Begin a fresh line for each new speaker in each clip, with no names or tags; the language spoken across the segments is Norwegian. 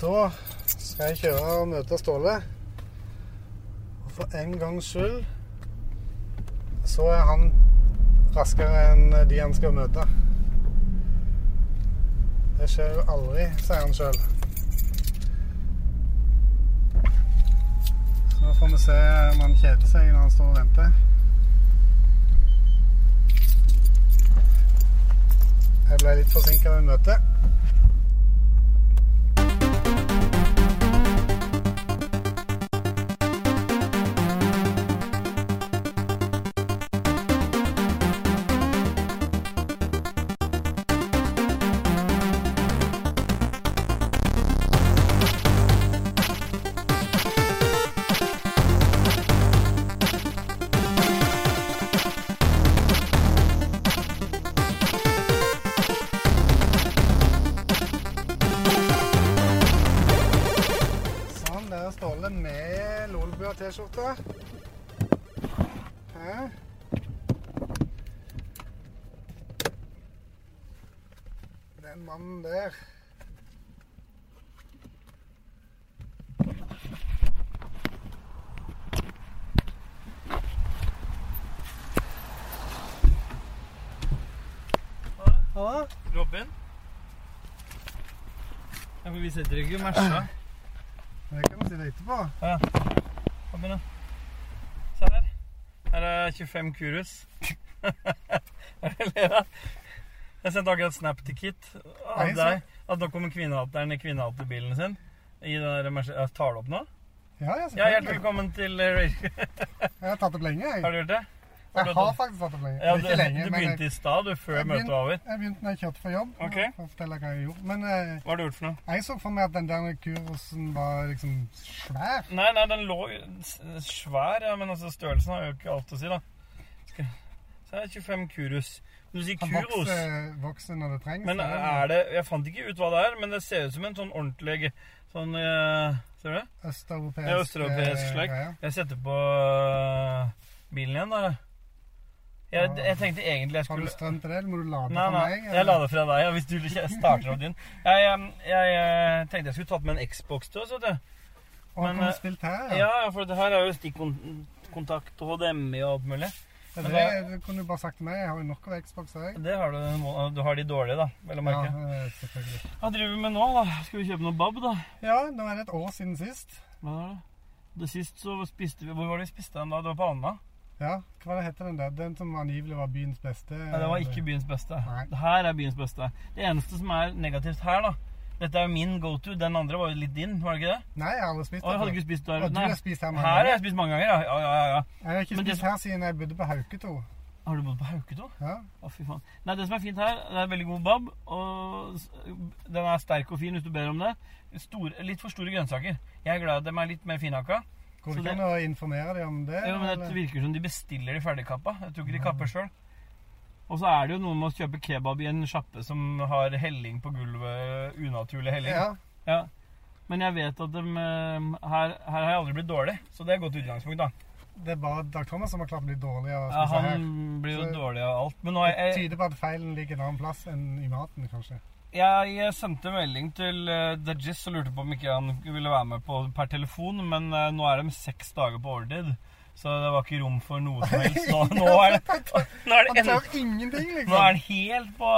Da skal jeg kjøre og møte Ståle. Og for en gangs skyld så er han raskere enn de han skal møte. Det skjer jo aldri, sier han sjøl. Så nå får vi se om han kjeder seg når han står og venter. Jeg ble litt forsinka ved møtet. Sånn, der er Ståle med Lolebua T-skjorte. Hæ? Den mannen der. Halla?
Robin? Ja, men vi setter ikke mersa.
Det kan vi si det etterpå.
Kom igjen, da. Se her. Her er 25 kurus. Hva er det du ler av? Jeg sendte akkurat snap til Kit av
Nei, så-
deg at nå kommer kvinnehateren i kvinnehaterbilen sin. I den der Merce- Jeg Tar det opp nå?
Ja, ja,
Ja,
selvfølgelig.
hjertelig velkommen til eh, Rage.
Jeg har tatt opp lenge, jeg.
Har du gjort det?
Jeg har faktisk tatt opp lenge.
Ja, du,
Ikke lenge,
du
men jeg,
begynte i stad, du, før
Jeg
møtet var over.
jeg begynte når jeg kjørte for jobb.
Ok.
For å fortelle hva jeg gjorde. Men eh,
Hva har du gjort for noe?
jeg så for meg at den der kursen var liksom svær.
Nei, nei, den lå jo s- svær, ja, men altså størrelsen har jo ikke alt å si, da. Skal, så er det 25 kurus. Du sier
Han
kuros,
vokser, vokser når det trengs.
men eh, er det Jeg fant ikke ut hva det er, men det ser ut som en sånn ordentlig sånn eh, Ser du det?
Østeuropeisk
Det er østeuropeisk
eh,
slekk.
greier.
Jeg setter på eh, bilen igjen, da. Jeg,
Ja.
jeg tenkte egentlig jeg
Har du
skulle
strøm til det, eller må du lade
Nei,
for
nei,
meg?
jeg la det fra deg, ja, hvis du ikke starter opp din. Jeg, jeg, jeg, eh, tenkte jeg skulle tatt med en Xbox til oss, vet du.
Og
men,
han kunne
eh,
spilt her, ja.
Ja, ja, for det her er jo stikkontakt og HDMI og alt mulig.
Det,
men
det, kunne du bare sagt til meg. Jeg har jo nok av Xbox, jeg.
Det har du, du har de dårlige, da. Vel å
Ja,
merke.
eh, selvfølgelig.
Hva driver vi med nå, da? Skal vi kjøpe noe bab, da?
Ja, nå er det et år siden sist.
Hva er det? Det sist så spiste vi Hvor var det vi spiste den da? Det var på Anna?
Ja, hva var det heter den der? Den som angivelig var byens beste?
Nei, det var ikke byens beste.
Nei.
Det her er byens beste. Det eneste som er negativt her, da Dette er jo min go to. Den andre var jo litt din, var det ikke det?
Nei, jeg har aldri spist
Og jeg hadde
før.
ikke spist der.
Og du
Nei.
har spist her mange
Her har
ganger.
jeg spist mange ganger, ja. ja, ja, ja, ja.
Jeg har ikke
Men det
spist her siden jeg bodde på Hauketo.
Har du bodd på Hauketo?
Ja.
Å, fy faen. Nei, det som er fint her, det er veldig god bab, og s- den er sterk og fin hvis du ber om det. Store, litt for store grønnsaker. Jeg er glad i at de er litt mer finhakka.
Går
Så
det ikke an å informere dem om det?
Jo, men det
eller?
virker som de bestiller de ferdigkappa. Jeg tror ikke de kapper sjøl. Og så er det jo noe med å kjøpe kebab i en sjappe som har helling på gulvet. Unaturlig helling.
ja.
Ja. Men jeg vet at dem, eh, her, her har jeg aldri blitt dårlig, så det er et godt utgangspunkt. da.
Det er bare Dag Thomas som har klart å bli dårlig av å
Ja,
spise
han blir jo
Så-
dårlig av alt. Men nå har
her. Det
jeg,
tyder på at feilen ligger en annen plass enn i maten, kanskje.
Jeg eh, sendte melding til eh, The Jizz og lurte på om ikke han ville være med på per telefon, men eh, nå er de seks dager på overtid, så det var ikke rom for noe som helst. Nå, nå er det, nå er det
Han
en,
tør ingenting, liksom.
nå er han helt på,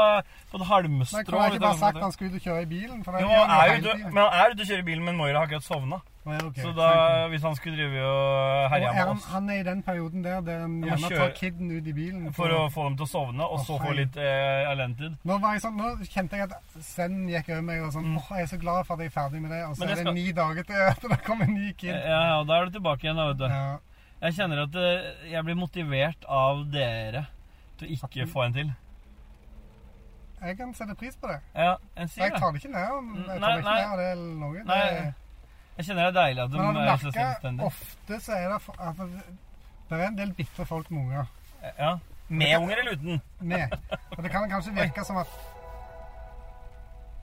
på det
Men
halmstrå.
kunne jeg
vet
ikke
du,
bare sagt
sånn
at han skulle ut og kjøre i bilen? For
at-
det
Jo,
gjør
han er
hele
ute,
tiden.
men han er ute og kjører bilen, men Moira har akkurat sovna.
Å, ja, ok.
Så
Thank
da,
you.
hvis han skulle drive og
Og
herje
er
med
han,
oss
han er i den perioden der der han
må
gjerne
kjøre-
tar kiden ut i bilen.
for å få dem til å sovne, og
Å,
så få
feil.
litt eh, alentid
Nå, var jeg sånn, nå kjente jeg at senden gikk over meg og sånn, åh, jeg er så glad for at jeg er ferdig med det, og så
Mm. Men det
er det
skal-
ni dager til at det kommer en ny kid.
Eh, Ja, og da er du tilbake igjen, da, vet du.
Ja.
Jeg kjenner at eh, jeg blir motivert av dere til å ikke få en til.
Jeg kan sette pris på det.
Ja, en sier
Jeg
det.
tar det ikke ned om jeg tar
Nei,
det ikke
nei.
ned av det eller noe.
Nei,
det,
Jeg kjenner det er deilig at de
men har du
er så
merket,
selvstendige.
ofte så er det for, at det, det er en del bitre folk med unger.
Ja. Med unger eller uten?
Med. Og det kan kanskje virke som at,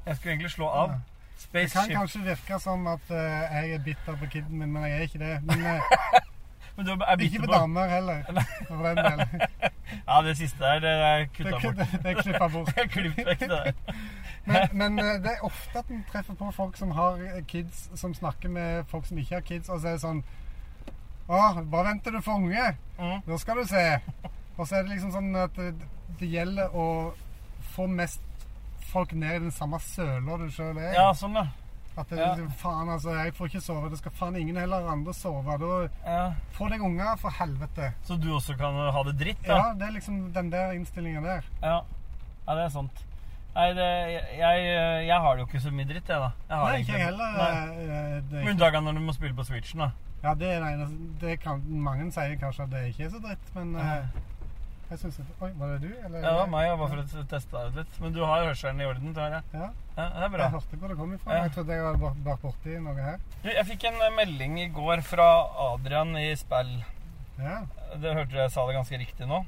Jeg skulle egentlig slå av.
Ja. det kan
Spaceship.
kanskje virke som at eh, jeg er bitter på kiden min, men jeg er ikke det. Men eh,
Men du er
ikke
bitter
på
på
damer heller, for den del.
Ja, det siste der, det er
Det
kutta
er,
bort.
det er klippet bort.
Jeg klippet vekk det der.
Men, men eh, det er ofte at en treffer på folk som har eh, kids, som snakker med folk som ikke har kids, og så er det sånn Å, bare venter du for unge?
Mm.
Da skal du se. Og så er det liksom sånn at det, det gjelder å få mest folk ned i den samme søla du sjøl er. i.
Ja, sånn, ja.
At det,
ja.
det- faen, altså, jeg får ikke sove. Det skal faen ingen heller andre sove. Da,
ja.
få deg unger, for helvete.
Så du også kan ha det dritt, da?
Ja, det er liksom den der innstillinga der.
Ja, ja det er sant. Nei, det, jeg, jeg har det jo ikke så mye dritt, jeg, da. Jeg har
Nei,
det
ikke jeg heller.
Nei.
eh, Det,
Med unntak av når du må spille på Switchen, da.
ja, det er det eneste det kan, Mange sier kanskje at det ikke er så dritt, men eh, jeg syns Oi, var det du? Eller,
Ja, det var meg, jeg, bare for å teste deg ut litt. Men du har hørselen i orden, tror jeg.
Ja,
Ja, det er bra.
jeg hørte hvor det kom ifra.
Ja.
Jeg trodde jeg var bak- bak borti noe her.
Du, jeg fikk en eh, melding i går fra Adrian i Spell.
Ja,
Det hørte du jeg sa det ganske riktig nå.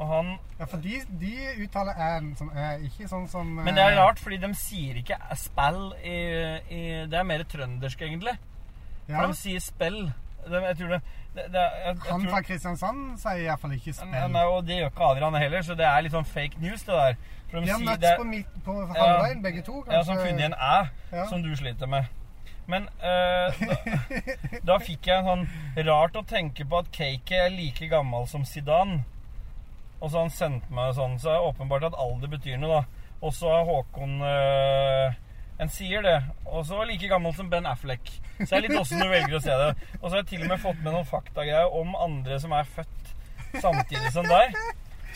Og han
ja for de, de uttaler æ-en som æ, ikke sånn som
Men det er rart, fordi de sier ikke spell i, i Det er mer trøndersk, egentlig.
Ja,
For de sier spell. De, jeg tror det, det, det er- jeg, jeg
han
tror,
fra Kristiansand sier iallfall ikke
Nei,
spill.
Nei, og det gjør ikke Adrian heller, så det er litt sånn fake news, det der. For
De har
sier-
møtts
det er-
på, midt, på
Ja.
halvveien, begge to.
Ja, som funnet en æ,
Ja.
som du sliter med. Men eh, da, da fikk jeg en sånn Rart å tenke på at Cake er like gammel som Zidane. Og så han sendte meg sånn, så er det åpenbart at alder betyr noe, da. Og så er Håkon eh, En sier det. Og så like gammel som Ben Affleck. Så det er litt åssen du velger å se det. Og så har jeg til og med fått med noen faktagreier om andre som er født samtidig som deg.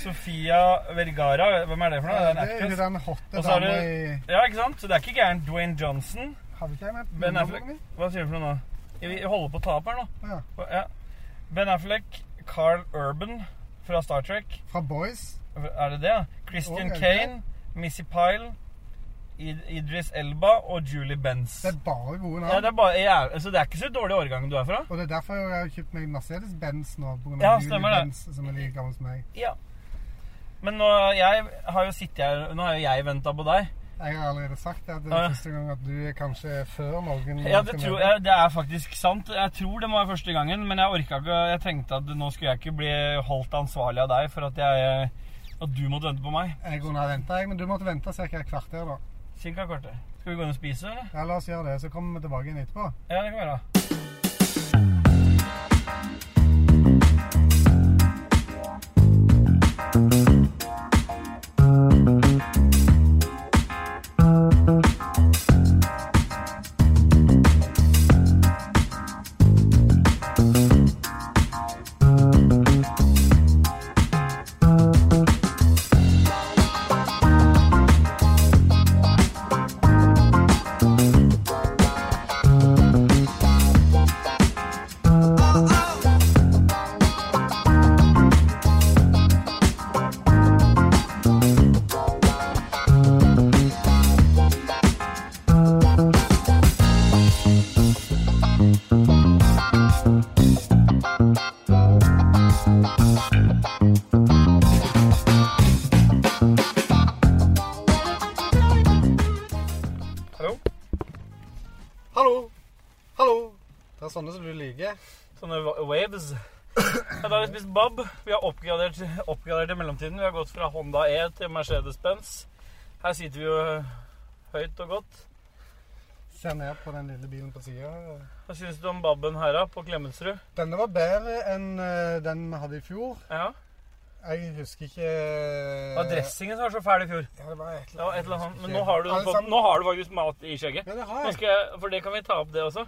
Sofia Vergara, hvem er det for noe?
Ja, det
Det er en
er jo
actress.
den hotte
Og så er
dama i
Ja, ikke sant? Så det er ikke gærent. Dwayne Johnson.
Hadde ikke jeg med
Ben
nummerboka
Affleck.
mi?
Hva sier du for noe nå? Vi holder på å ta opp her nå.
Ja.
Hva- Ja. Ben Affleck, Carl Urban fra Star Trek.
Fra Boys.
Er det det? ja? Christian
Å, er det
Kane, Missy Pyle, Id Idris Elba og Julie Benz.
Det er bare gode navn.
Ja, det er bare, jeg er, altså, det er ikke så dårlig årgang du er fra.
Og det er derfor jeg har kjøpt meg Mercedes-Benz nå. På grunn av
Ja,
Julie
stemmer det.
Benz, som er like gammel som meg.
Ja. Men nå, jeg har jo sittet her, nå har jo jeg venta på deg.
Jeg har allerede sagt det, at det
Ja,
er
ja.
første gang at du er kanskje før noen.
Ja, det, tror, jeg, det er faktisk sant. Jeg tror det må være første gangen, men jeg orka ikke Jeg tenkte at nå skulle jeg ikke bli holdt ansvarlig av deg for at, jeg, at du måtte vente på meg.
Jeg kunne ha ventet, jeg, men du måtte vente ca. et kvarter. da.
Cirka et kvarter. Skal vi gå inn og spise, eller?
Ja, La oss gjøre det, så kommer vi tilbake igjen etterpå.
Ja, det kan vi gjøre. Hallo?
Hallo! Hallo! Det er sånne som du liker.
Sånne wa- waves. Ja, da har vi spist bob. Vi har oppgradert, oppgradert i mellomtiden. Vi har gått fra Honda E til Mercedes-Benz. Her sitter vi jo eh, høyt og godt.
Ser ned på den lille bilen på sida.
Hva syns du om babben her, da? På Klemetsrud?
Denne var bedre enn eh, den vi hadde i fjor.
Ja.
Jeg husker ikke eh,
Det var dressingen som var så fæl i fjor.
Ja, det var et
Det var et eller annet.
jeg husker
Men
ikke.
nå har du,
Alle
fått,
sammen-
nå har du faktisk mat i skjegget.
Ja, det har
Nå
jeg.
skal jeg, for det kan vi ta opp, det også.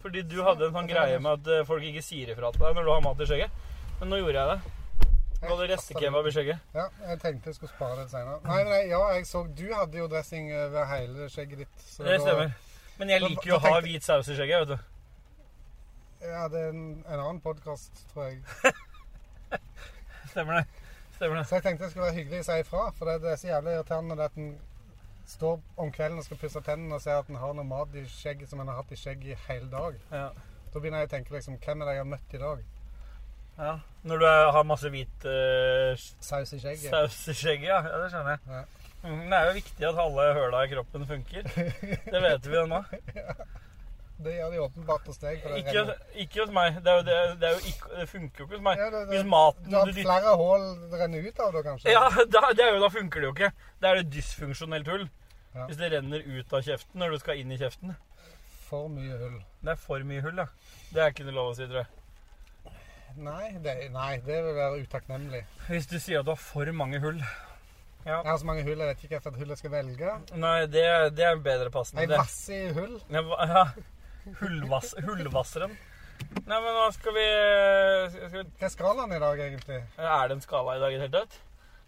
Fordi du hadde en sånn greie med at eh, folk ikke sier ifra til deg når du har mat i skjegget. Men nå gjorde jeg det. Du hadde restekebab i skjegget.
Ja, jeg tenkte jeg skulle spare det senere. Nei, nei, ja, jeg så Du hadde jo dressing over hele skjegget ditt. så
Det
da-
stemmer. Men jeg
Da-
liker jo å
da
ha
tenkte-
hvit saus i skjegget, vet du.
Ja, det er en, en annen podkast, tror jeg.
Stemmer det. Stemmer det.
Så jeg tenkte jeg skulle være hyggelig og si ifra, for det, det er så jævlig irriterende det at en står om kvelden og skal pusse tennene og ser at en har noe mat i skjegget som en har hatt i skjegget i hele dag.
Ja.
Da begynner jeg å tenke liksom Hvem er det jeg har møtt i dag?
ja. Når du er- har masse hvit eh,
Saus i skjegget.
saus i skjegget, ja. ja. Det skjønner
Ja.
jeg. Mm, Det er jo viktig at alle høla i kroppen funker. Det vet vi jo nå.
Det gjør de åpenbart hos deg. for det
Ikke,
renner-
ikke hos meg. Det, er jo, det, det, er jo ikke, det funker jo ikke hos meg.
Ja, det- det-
Hvis maten
Du har
du
hatt
dytter
flere hull det renner ut av, da kanskje?
Ja, da, det er jo, da funker det jo ikke. Da er det dysfunksjonelt hull.
Ja.
Hvis det renner ut av kjeften når du skal inn i kjeften.
For mye hull.
Det er for mye hull, da. Det er ikke noe lov å si, tror jeg.
Nei det, nei, det vil være utakknemlig.
Hvis du sier at du har for mange hull Ja.
Jeg har så mange hull, jeg vet ikke hvilket hull jeg skal velge.
Nei, det, det er bedre passende.
Ei
Det.
masse i hull.
Ja, hva- ja. Hullvass, hullvasseren. Nei, men hva skal vi, skal vi
Hva er skalaen i dag, egentlig?
Er det en skala i dag i det hele tatt?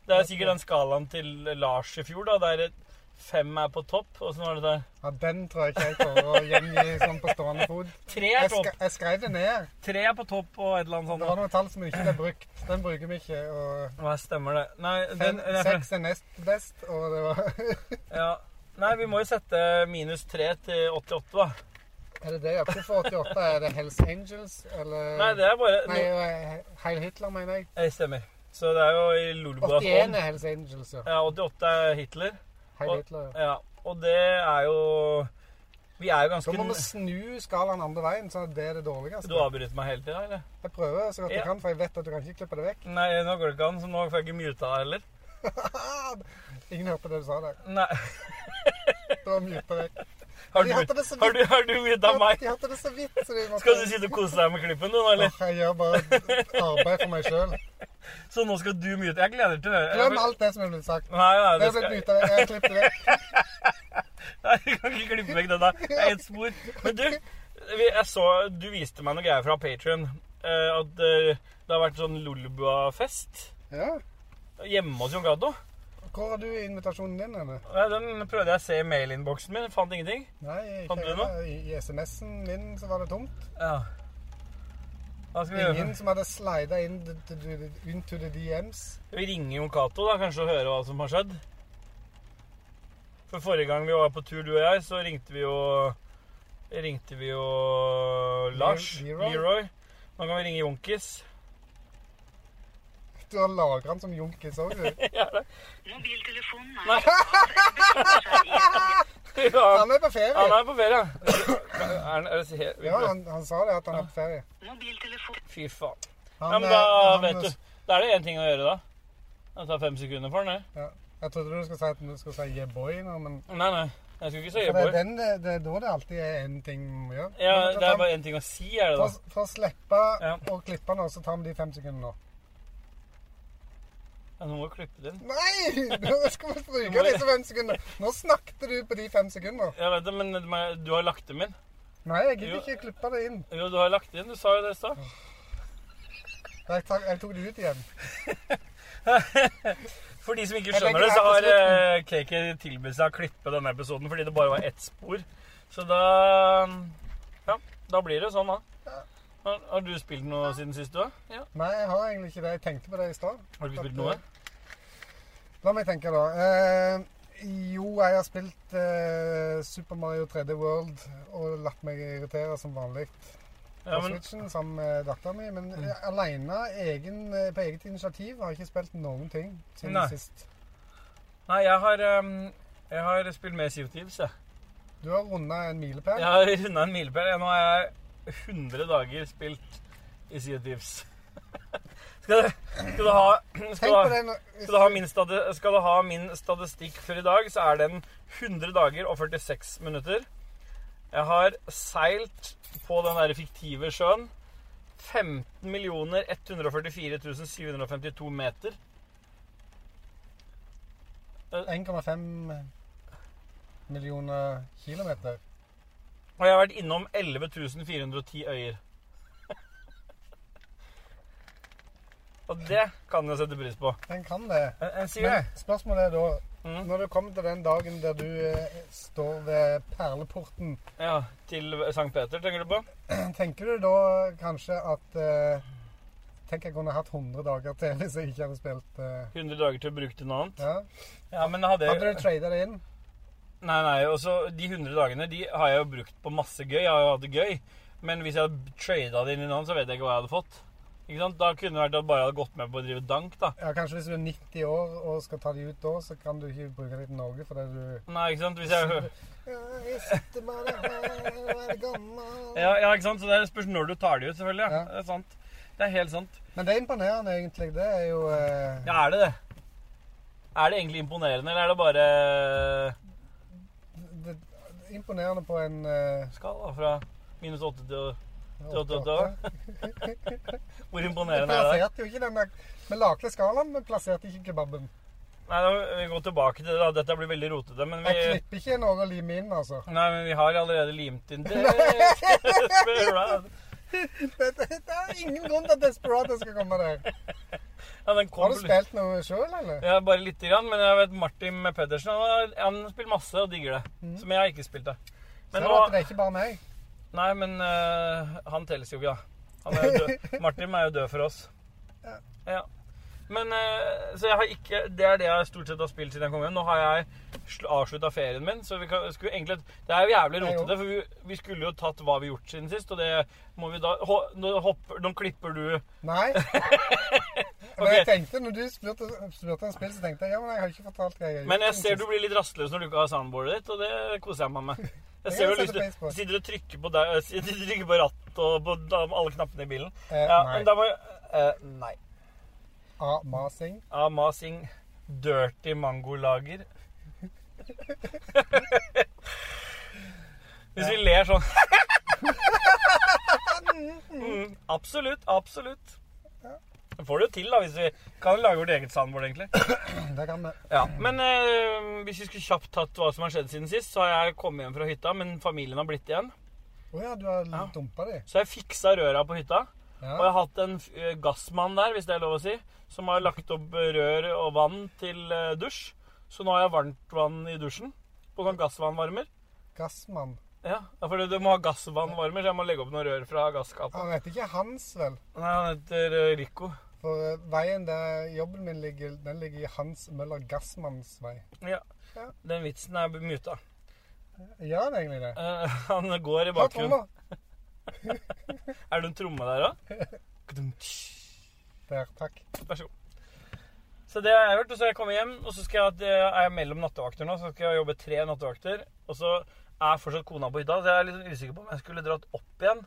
Det er sikkert den skalaen til Lars i fjor, da. Der fem er på topp, og så nå er det der
Ja, Den tror jeg ikke jeg klarer å gjengi sånn på stående fot.
Tre er
Jeg,
topp.
sk jeg skrev det ned.
Tre er på topp og et eller annet
Det
sånt.
var noen tall som ikke ble brukt. Den bruker vi ikke. Og
Nei, stemmer det. Nei, den,
fem,
den er,
seks er nest best, og det var
ja. Nei, vi må jo sette minus 3 til 88, da.
Er det det? Ja, Hvorfor 88? Er det Hells Angels, eller
Nei, det er bare
Nei, eh, Heil Hitler, mener jeg.
Det stemmer. Så det er jo i Lulboas
81
ånd.
er Hells Angels, ja.
Ja, 88 er Hitler.
Heil
Og-
Hitler, ja.
Ja, og det er jo Vi er jo
Da
ganske
må vi snu skalaen andre veien, sånn at det er det
Du
dårligste.
avbryter meg hele tida, eller?
Jeg prøver så godt jeg
Ja.
kan, for jeg vet at du kan ikke klippe det vekk.
Nei, nå går det ikke an, så nå får jeg ikke muta deg heller.
Ingen hørte det du sa der.
Nei.
Det var muta vekk.
Har
De
du,
hørte det så
har
vidt.
du, har du muta meg?
De hørte det så vidt, så de måtte
Skal du sitte og kose deg med klippen, du nå, eller?
Åh, Jeg gjør bare arbeid for meg sjøl.
Så nå skal du mute Jeg gleder til å høre.
Glem alt det som er blitt sagt.
Nei, nei,
Jeg
det
har blitt
skal
muta. Jeg har klippet vekk.
Nei, du kan ikke klippe vekk den der. Det er ett spor. Men du, vi- jeg så, du viste meg noen greier fra Patrion. at eh, det har vært sånn Lolbua-fest
Ja.
hjemme hos Jon Gaddo.
Hvor har du invitasjonen din henne?
Nei, Den prøvde jeg å se i mailinnboksen min, fant ingenting.
Nei, ikke
Fant du noe?
I, i SMS-en min så var det tomt.
Ja. Hva skal vi
Ingen
gjøre?
som hadde slida inn d- d- d- into the DMs.
Vi ringer Jon Cato, da, kanskje, og hører hva som har skjedd. For forrige gang vi var på tur, du og jeg, så ringte vi jo Ringte vi jo Lars.
Leroy.
Leroy. Nå kan vi ringe Jonkis.
Du har lagra den som junkis òg, du.
Mobiltelefonen er
Nei.
Han er på
Han
ferie.
er på ferie. Er han, er det he- vi-
Ja, han, han sa det, at han er på ferie.
Mobiltelefon
Fy faen.
Han,
Ja, men
eh,
da
han-
vet du. Da er det én ting å gjøre, da. Det tar fem sekunder for den, det.
Jeg trodde du skulle si at du skulle si yeah boy nå, men
Nei, nei. Jeg skulle ikke si
for det, er
Øyborg.
den, det, det er da det alltid er én ting vi må gjøre.
Ja,
Men
det er bare én ting å si, er det da.
For, for å slippe
Ja.
å klippe nå, så tar vi de fem sekundene nå.
Ja, nå må du klippe det inn.
Nei! Nå skal vi stryke disse fem sekundene. Nå snakket du på de fem sekundene.
Jeg vet det, men det må jeg- du har lagt dem inn.
Nei, jeg gidder ikke klippe det inn.
Jo, du har lagt det inn. Du sa jo det i stad.
Jeg tok, jeg tok det ut igjen.
For de som ikke
Jeg
skjønner
legger
det, så har
det her
eh, KK tilbudt seg å klippe denne episoden fordi det bare var ett spor. Så da Ja, da blir det jo sånn, da. Har, har du spilt noe siden sist, du? da? Ja.
Nei, jeg har egentlig ikke det. Jeg tenkte på det i stad.
Har du ikke spilt noe?
La meg tenke, da. Eh, jo, jeg har spilt eh, Super Mario 3D World og latt meg irritere som vanlig på
Ja, men
Switchen sammen med dattera mi. Men mm. aleine, på eget initiativ, har jeg ikke spilt noen ting siden
Nei.
sist.
Nei, jeg har, ehm, jeg har spilt mer Sea of Thieves, jeg.
Du har runda en milepæl.
Jeg har runda en milepæl. jeg. Nå har jeg 100 dager spilt i Sea of Thieves. skal, du, skal du ha skal
Tenk
du
på
ha,
det når, hvis,
skal du ha, min, stati, skal du ha min statistikk for i dag, så er den 100 dager og 46 minutter. Jeg har seilt på den der fiktive sjøen 15 144 752 meter.
1,5 millioner kilometer.
Og jeg har vært innom 11.410 øyer. Og det kan jeg sette pris på.
Den kan det.
En, en sier det.
Men spørsmålet er da
Mm.
Når du kommer til den dagen der du eh, står ved perleporten,
Ja, Til Sankt Peter, tenker du på?
tenker du da kanskje at eh, Tenk jeg kunne hatt 100 dager til hvis jeg ikke hadde spilt eh,
100 dager til å bruke til noe annet.
ja.
Ja, men hadde
Hadde
jeg...
du trada det inn?
Nei, nei, og så De 100 dagene de har jeg jo brukt på masse gøy. Jeg har jo hatt det gøy. Men hvis jeg hadde trada det inn i noe annet, så vet jeg ikke hva jeg hadde fått. Ikke sant? Da kunne det vært at jeg bare hadde gått med på å drive dank, da.
Ja, Kanskje hvis du er 90 år og skal ta de ut da, så kan du ikke bruke dem til Norge fordi du
Nei, ikke sant? Hvis jeg...
ja, Jeg sitter bare her og er gammel
Ja, ja, ikke sant? Så det spørs når du tar de ut, selvfølgelig. Ja.
Ja.
Det er sant. Det er helt sant.
Men det er imponerende, egentlig. Det er jo eh,
Ja, er det det? Er det egentlig imponerende, eller er det bare eh,
det, det er imponerende på en eh,
skala fra minus åtte til til åtte åtte?
åtte-åtte.
Hvor
Vi
imponerende er det?
plasserte jo ikke den der Vi lagde skalaen, men plasserte ikke kebaben.
Nei, da, Vi går tilbake til det. da. Dette blir veldig rotete. Men vi,
Jeg klipper ikke noe å lime inn, altså.
nei, men vi har allerede limt inn Desperado.
Det, det, det er ingen grunn til at Desperado skal komme der.
Ja, den kom
Har du spilt noe sjøl, eller?
Ja, bare lite grann, men jeg vet Martin Pedersen han, har- han har spilt masse og digger det.
Mhm.
Som jeg har ikke spilt det.
Ser
Men
du
nå,
at det er ikke bare meg?
nei, men øh, han telles jo ikke, da. Han er jo død. Martin er jo død for oss.
Ja.
Ja. Men øh, Så jeg har ikke Det er det jeg stort sett har spilt siden jeg kom hjem. Nå har jeg avslutta ferien min, så vi kan, skulle egentlig Det er jo jævlig
Nei, jo.
rotete, for vi, vi skulle jo tatt hva vi har gjort siden sist, og det må vi da ho, nå, hopper, nå klipper du
Nei. Men jeg tenkte, når du spurte, spurte om spill, så tenkte jeg ja, men jeg har ikke fortalt hva jeg har gjort.
Men jeg
siden
ser du
sist.
blir litt rastløs når du ikke har soundboardet ditt, og det koser jeg meg med. Jeg ser
Det
jo
setter
lyst til
pris på.
du sitter og trykker på, deg, sitter og trykker på rattet og på da- alle knappene i bilen.
eh,
Ja,
Nei.
men da må jeg eh, Nei.
Ah, masing.
Amasing dirty mangolager. Hvis vi ler sånn mm, Absolutt, absolutt. Det får du jo til, da, hvis vi kan lage vårt eget soundboard, egentlig.
Det kan vi.
Ja, men eh, hvis vi skulle kjapt tatt hva som har skjedd siden sist, så har jeg kommet hjem fra hytta, men familien har blitt igjen.
Å ja, du har
Ja.
dumpa de?
Så jeg fiksa røra på hytta, og jeg
Ja.
har hatt en eh, gassmann der, hvis det er lov å si, som har lagt opp rør og vann til eh, dusj. Så nå har jeg varmt vann i dusjen på sånn gassvannvarmer.
Gassmann.
Ja, ja, for du- du må ha gassvannvarmer, så jeg må legge opp noen rør fra gasskapet.
Han heter ikke Hans, vel?
Nei, han heter eh, Rico.
For eh, veien der jobben min ligger, den ligger i Hans Møller Gassmanns vei.
Ja.
Ja.
Den vitsen er muta.
Gjør den egentlig det?
Eh, han går i
Ta
bakgrunnen.
tromma.
Er det en tromme der òg?
Der, takk.
Vær så god. Så det har jeg gjort, og så har jeg kommet hjem, og så skal jeg, det er jeg mellom nattevakter nå, så skal jeg jobbe tre nattevakter, og så er fortsatt kona på hytta, så jeg er litt sånn usikker på om jeg skulle dratt opp igjen,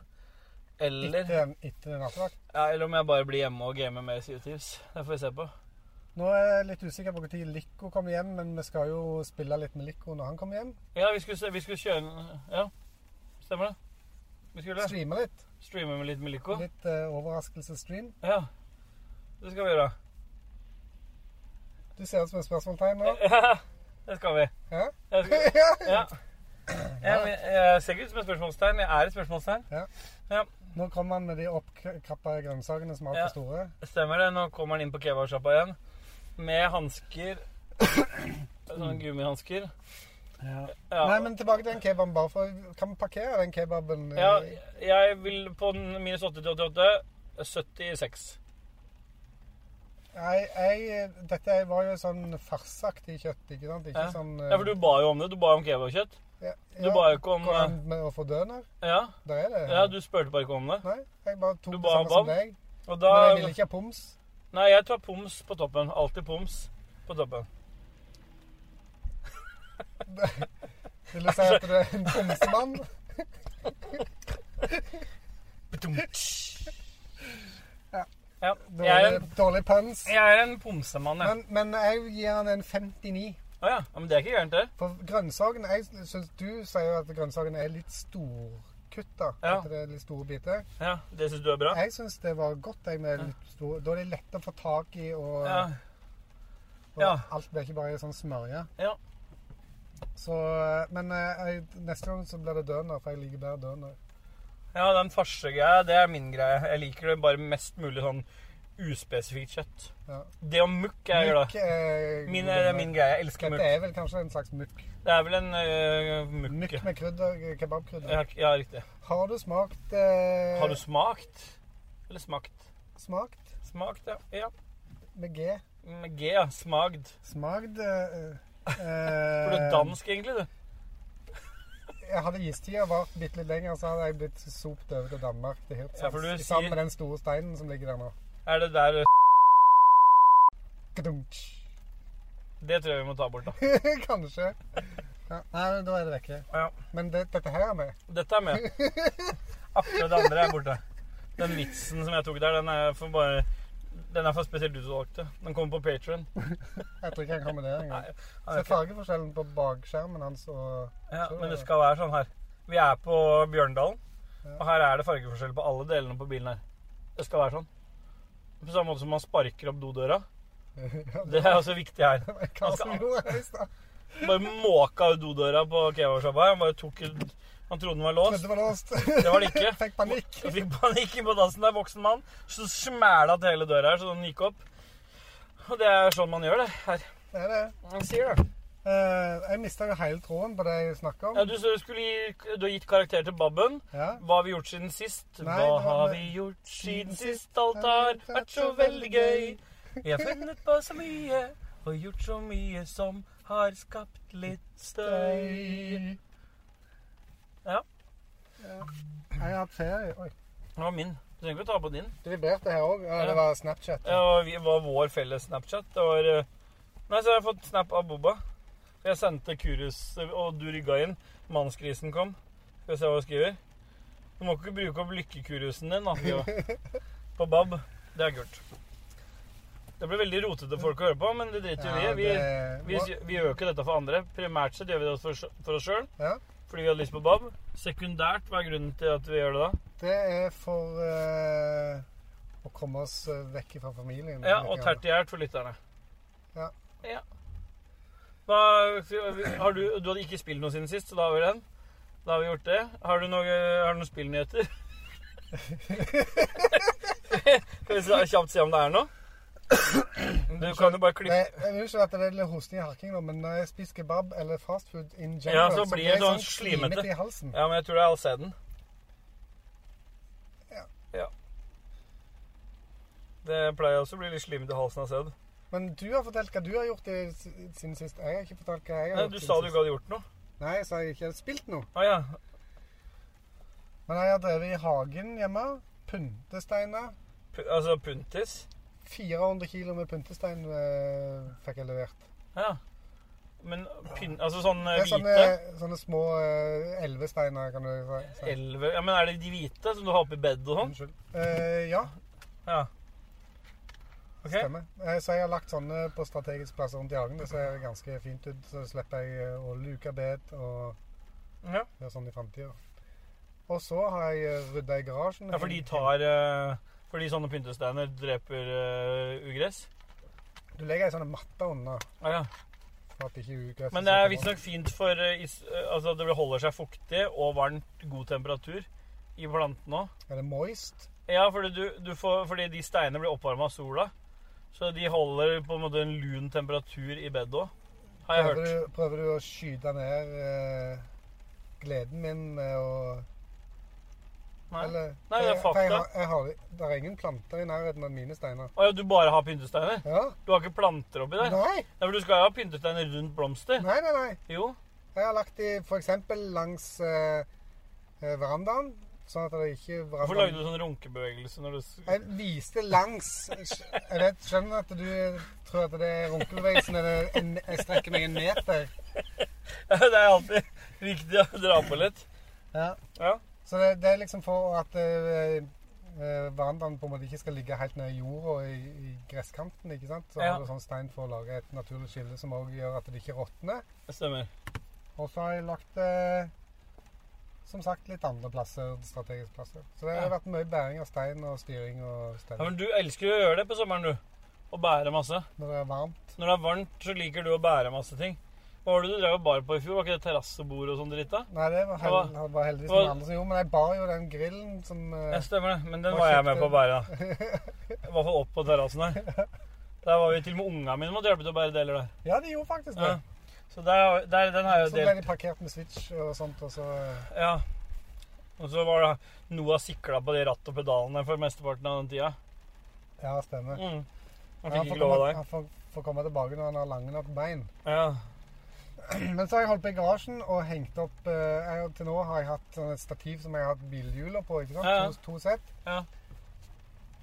eller,
Etter den, etter den nattevakt.
ja, eller om jeg bare blir hjemme og gamer mer Sea of Thieves. Det får vi se på.
Nå er jeg litt usikker på når Lico kommer hjem, men vi skal jo spille litt med Lico når han kommer hjem.
Ja, vi skulle, se- vi skulle kjøre, en- ja, stemmer det? Vi skulle
Streame litt.
streame med litt med Lico.
Litt eh, overraskelsesstream.
Ja, det skal vi gjøre.
Du ser ut som et spørsmålstegn nå.
Ja, det skal vi.
Ja.
Jeg skal, ja. Jeg, jeg, jeg ser ikke ut som et spørsmålstegn, jeg er et spørsmålstegn.
Nå kommer han med de oppkrappa grønnsakene som er
Ja.
altfor store.
Stemmer det. Nå kommer han inn på kebabsjappa igjen med hansker. Sånne gummihansker. Ja.
Nei, men tilbake til den kebaben. bare for Kan vi parkere den kebaben? eh,
ja, jeg vil på den minus 80 til 88 76.
Nei, jeg, dette var jo sånn farsaktig kjøtt, ikke sant? Ikke
Ja.
sånn eh,
Ja, for du ba jo om det. Du ba om kebabkjøtt.
ja,
Du
ja,
ba jo ikke om eh,
Går an med å få døner?
Ja,
Der er det.
ja du spurte bare ikke om det.
Nei, jeg bare tok
Du
det
ba om
samme som
bam?
deg.
Og da
Men jeg ville ikke ha poms.
Nei, jeg tar poms på toppen. Alltid poms på toppen.
Vil du si at du er en pomsemann? Ja.
Ja. Jeg er
Dårlig,
en,
dårlig puns.
jeg er en pomsemann, jeg.
Men, men jeg gir han en 59.
Å ja. ja. Men det er ikke gærent, det.
For grønnsaken jeg synes Du sier jo at grønnsaken er litt storkutta.
Ja.
At det er litt store biter.
Ja, Det syns du er bra?
Jeg syns det var godt. Jeg, med litt stor, da er de lette å få tak i, og,
Ja.
og
ja.
alt blir ikke bare sånn smørje.
Ja.
Så, men eh, jeg, neste gang så blir det døner, for jeg liker bedre døner.
Ja, den farsegreia, det er min greie. Jeg liker det bare mest mulig sånn uspesifikt kjøtt.
Ja.
Det om mukk er jeg glad i.
er
Min, det er min greie. Jeg elsker
eh, Dette
mukk.
er vel kanskje en slags mukk.
Det er vel en øh,
Mukk
mukke.
med krydder, eh, kebabkrydder.
Ja, ja, riktig.
Har du smakt eh,
Har du smakt? Eller smakt?
smakt
Smakt, ja. ja.
med G?
Med G, ja. Smagd.
Smagd eh, eh,
For du er dansk, egentlig, du.
jeg hadde istida vart bitte litt lenger, så hadde jeg blitt sopt over til Danmark, til Hirtshals.
Ja, for du
sammen
sier-
med den store steinen som ligger der nå.
Er det der eh,
Kadunk.
Det tror jeg vi må ta bort, da.
Kanskje. Ja, nei, men da er det vekke.
Ja.
Men det, dette her er med.
Dette er med. Akkurat det andre er borte. Den vitsen som jeg tok der, den er for bare Den er for spesielt utvalgte. Den kommer på Patron.
Jeg tror ikke han har med det engang. Se
Ja,
fargeforskjellen på bakskjermen hans og
men det skal være sånn her. Vi er på Bjørndalen, og her er det fargeforskjell på alle delene på bilen her. Det skal være sånn. På samme måte som man sparker opp dodøra. Det er også viktig her.
Hva som gjorde det i stad?
Bare måka ut dodøra på kebabsjappa her. Han bare tok ut Han trodde den var låst.
Trodde det var låst.
Det var det ikke.
Fikk panikk.
Jeg fikk panikk på dassen der, voksen mann. Så smæla til hele døra her, så den gikk opp. Og det er sånn man gjør det her.
Det er det.
Man sier det.
Eh, jeg mista jo hele tråden på det jeg snakka om.
Ja, du, så skulle gi, du har gitt karakter til Babben.
Ja.
Hva har vi gjort siden sist?
Nei,
Hva
det var
har
med-
vi gjort siden sist? Alt har vært så veldig gøy. Vi har funnet på så mye og gjort så mye som har skapt litt støy.
Støy.
Ja.
Ja. Jeg har hatt ferie. Oi.
Det var min. Du trenger ikke å ta på din.
Det vibrerte her òg. Ja,
Ja.
det var Snapchat.
Ja, og vi var vår felles Snapchat. Det var eh, Nei, så har jeg fått snap av Boba. Jeg sendte Kurus, og du rygga inn. Mannskrisen kom. Skal vi se hva hun skriver. Du må ikke bruke opp lykkekurusen din, da. skriver hun. På Bab. Det er gult. Det blir veldig rotete folk å høre på, men det driter
Ja,
vi i.
det-
Vi, vi, vi gjør jo ikke dette for andre. Primært sett gjør vi det for, for oss sjøl,
Ja.
fordi vi hadde lyst på Bab. Sekundært, hva er grunnen til at vi gjør det da?
Det er for eh, å komme oss eh, vekk fra familien.
Ja, og tertiært for lytterne.
Ja.
Ja. Hva, har du, du hadde ikke spilt noe siden sist, så da har vi den. Da har vi gjort det. Har du noe- har du noen spillnyheter? Skal vi se- kjapt se om det er noe? Du kan jo bare
Nei,
klippe
jeg vil ikke at det er litt hosting og harking, nå, men når jeg spiser kebab eller fast food in
Ja,
general,
så blir det
jeg
sånn slimete.
i halsen.
Ja, men jeg tror det er Alseden.
Ja.
ja. Det pleier også å bli litt slimete i halsen av sæd.
Men du har fortalt hva du har gjort i, siden sist. Jeg har ikke fortalt hva jeg har
Nei,
gjort.
Du
siden
sa du
sist.
ikke hadde gjort noe.
Nei, jeg sa jeg ikke hadde spilt noe.
Å ja.
Men jeg har drevet i hagen hjemme. Pyntesteiner.
P altså puntis.
400 kilo med pyntestein eh, fikk jeg levert.
Ja. Men pyn... Altså sånn
Det
eh,
er sånne,
hvite?
sånne små eh, elvesteiner, kan du si- si.
Elve... Ja, men er det de hvite som du har oppi bedet og sånn?
Unnskyld. Eh, ja.
Ja. Ok.
Stemmer. Eh, Så jeg har lagt sånne på strategisk plass rundt i hagen. Det ser ganske fint ut. Så slipper jeg eh, å luke bed og
Ja.
gjøre sånn i framtida. Og så har jeg eh, rydda i garasjen.
ja, for de tar eh, Fordi sånne pyntesteiner dreper eh, ugress?
Du legger ei sånn matte under
Ja, ja.
for at ikke ugresset
Men det er
skal komme.
visstnok fint for eh, is, eh, Altså det holder seg fuktig og varmt, god temperatur i plantene òg.
Er det moist?
Ja, fordi, du, du får, fordi de steinene blir oppvarma av sola. Så de holder på en måte en lun temperatur i bedet òg, har jeg
Prøver
hørt.
du, prøver du å skyte ned eh, gleden min med å
Nei.
Eller
Nei, det er
For jeg,
fakta.
har- jeg har, det er ingen planter i nærheten av mine steiner.
Å ja, du bare har pyntesteiner?
Ja?
Du har ikke planter oppi der?
Nei,
Nei, for Du skal jo ha pyntesteiner rundt blomster.
nei, nei. nei.
Jo.
Jeg har lagt de f.eks. langs eh, eh, verandaen, sånn at det ikke
Hvorfor
verandaen
lagde du sånn runkebevegelse når du s-
Jeg viste langs Jeg vet, skjønner at du tror at det er runkebevegelsen eller en, jeg strekker meg en meter.
Det er alltid viktig å dra på litt.
Ja.
Ja.
Så det, det er liksom for at eh, eh, verandaen på en måte ikke skal ligge helt ned i jorda og i, i gresskanten. ikke sant? Så
Ja.
har du sånn stein for å lage et naturlig skille som òg gjør at det ikke råtner.
Det stemmer.
Og så har jeg lagt eh, som sagt litt andre plasser, strategiske plasser. Så det har
Ja.
vært mye bæring av stein og styring og
Ja,
stell.
men Du elsker jo å gjøre det på sommeren, du. Å bære masse.
Når det er varmt.
Når det er varmt, så liker du å bære masse ting. Hva var det du drev og bar på i fjor? Var ikke det terrassebord og sånn dritt? da?
Nei, det var, hel,
Hva-
det var heldigvis
hva-
noen andre som gjorde, men jeg bar jo den grillen som eh,
Ja, stemmer det. Men den
Hva
var jeg med
kjøpte
på å bære. da. I hvert fall opp på terrassen her. Der var vi til og med unga mine måtte hjelpe til å bære deler der.
Ja, de gjorde faktisk det.
Ja. Så der, der, den har
Så
jeg jo
ble
delt.
de parkert med switch og sånt, og så eh,
Ja. Og så var det Noah sikla på de ratt og pedalene for mesteparten av den tida.
Ja, stemmer.
Mm.
Ja,
Han fikk
får
ikke lov av
komme-
deg.
Han får, får komme tilbake når han har lange nok bein.
Ja.
Men så har jeg holdt på i garasjen og hengt opp eh, jeg, Til nå har jeg hatt sånn et stativ som jeg har hatt bilhjuler på. ikke sant?
Ja, ja.
To, to sett.
Ja.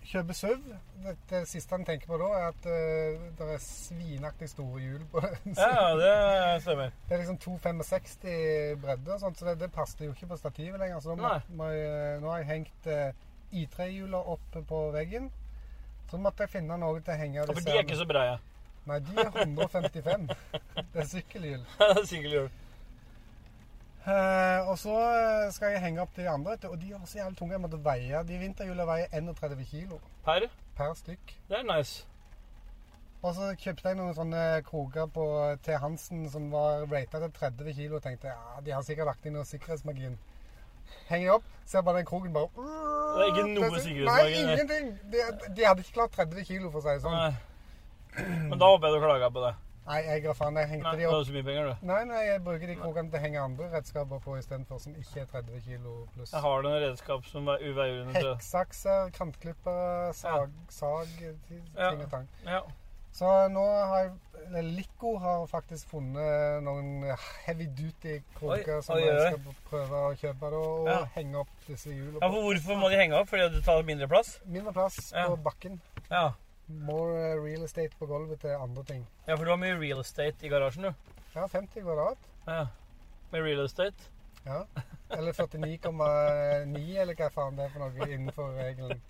Kjøper SUV. Det, det siste han tenker på da, er at eh, det er svinaktig store hjul på den.
Ja, ja, det stemmer.
Det er liksom 2,65 i bredde, og sånt, så det, det passet jo ikke på stativet lenger. Så nå, må,
Nei.
må jeg, nå har jeg hengt eh, I3-hjula opp på veggen. Så måtte jeg finne noe til å henge
Ja, for de er ikke så breie.
Nei, de er 155. det er sykkelhjul.
Sykkelhjul.
Eh, og så eh, skal jeg henge opp de andre, vet du, og de er så jævlig tunge. Jeg måtte veie De vinterhjula veier 31 kilo
Per,
per stykk.
det er nice.
Og så kjøpte jeg noen sånne kroker på T. Hansen som var ratet til 30 kilo. Og tenkte ja, de har sikkert lagt inn noe sikkerhetsmargin. Henger jeg opp, ser bare den kroken bare Det
er ikke noe sikkerhetsmargin,
Nei,
nei.
ingenting! De, de hadde ikke klart 30 kilo, for å si det sånn.
Nei. Men da håper jeg du klaga på det.
Nei, jeg ga faen. Jeg
Nei,
hengte
Du
de
har
opp.
jo så mye penger, du.
Nei, nei, jeg bruker de krokene til å henge andre redskaper på istedenfor, som ikke er 30 kilo pluss.
Jeg har noen redskap som veier uveier under tre.
Hekksakser, kantklippere, sag, sag ting
Ja.
og tang.
Ja.
Så nå har jeg eller Lico har faktisk funnet noen heavy duty kroker
Oi,
som
oi, oi.
jeg skal prøve å kjøpe da, og
Ja.
henge opp disse hjulene på.
ja, for hvorfor må de henge opp? Fordi det tar mindre plass?
Mindre plass
Ja.
på bakken.
Ja.
More eh, real estate på gulvet til andre ting.
ja, for du har mye real estate i garasjen, du.
Ja, 50 kvadrat.
Ja. Med real estate.
Ja. Eller 49,9 eller hva faen det er for noe innenfor regelen.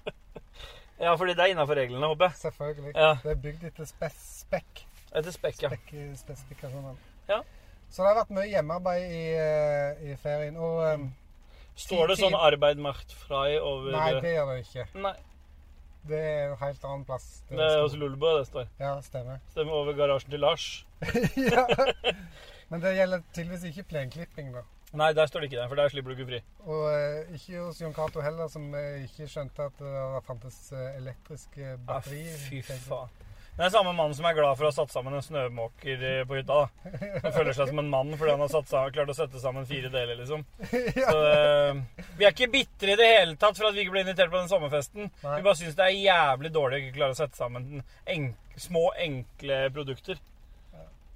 Ja, fordi det er innafor reglene, håper jeg.
Selvfølgelig.
Ja.
Det er bygd etter spes spekk.
Etter spekk, ja.
Spekk- spesifikasjonene.
Ja.
sånn Så det har vært mye hjemmearbeid i, eh, i ferien. Og eh,
Står det sånn 'arbeid macht frei' over
nei, det gjør det ikke.
Nei,
Det er en helt annen plass.
det er hos Lulebo det står.
Ja, stemmer.
Stemmer over garasjen til Lars.
ja. Men det gjelder tydeligvis ikke plenklipping, da.
Nei, der står det ikke det, for der slipper du ikke fri.
Og eh, ikke hos Jon Cato heller, som eh, ikke skjønte at det fantes eh, elektriske
Ja,
batteri.
Ah, fy
tenkte jeg.
faen. Det er samme mannen som er glad for å ha satt sammen en snømåker eh, på hytta. da. Han føler seg som en mann fordi han har satt sammen, klart å sette sammen fire deler, liksom. Så, eh, vi er ikke bitre i det hele tatt for at vi ikke ble invitert på den sommerfesten.
Nei.
Vi bare syns det er jævlig dårlig å ikke klare å sette sammen enk små, enkle produkter.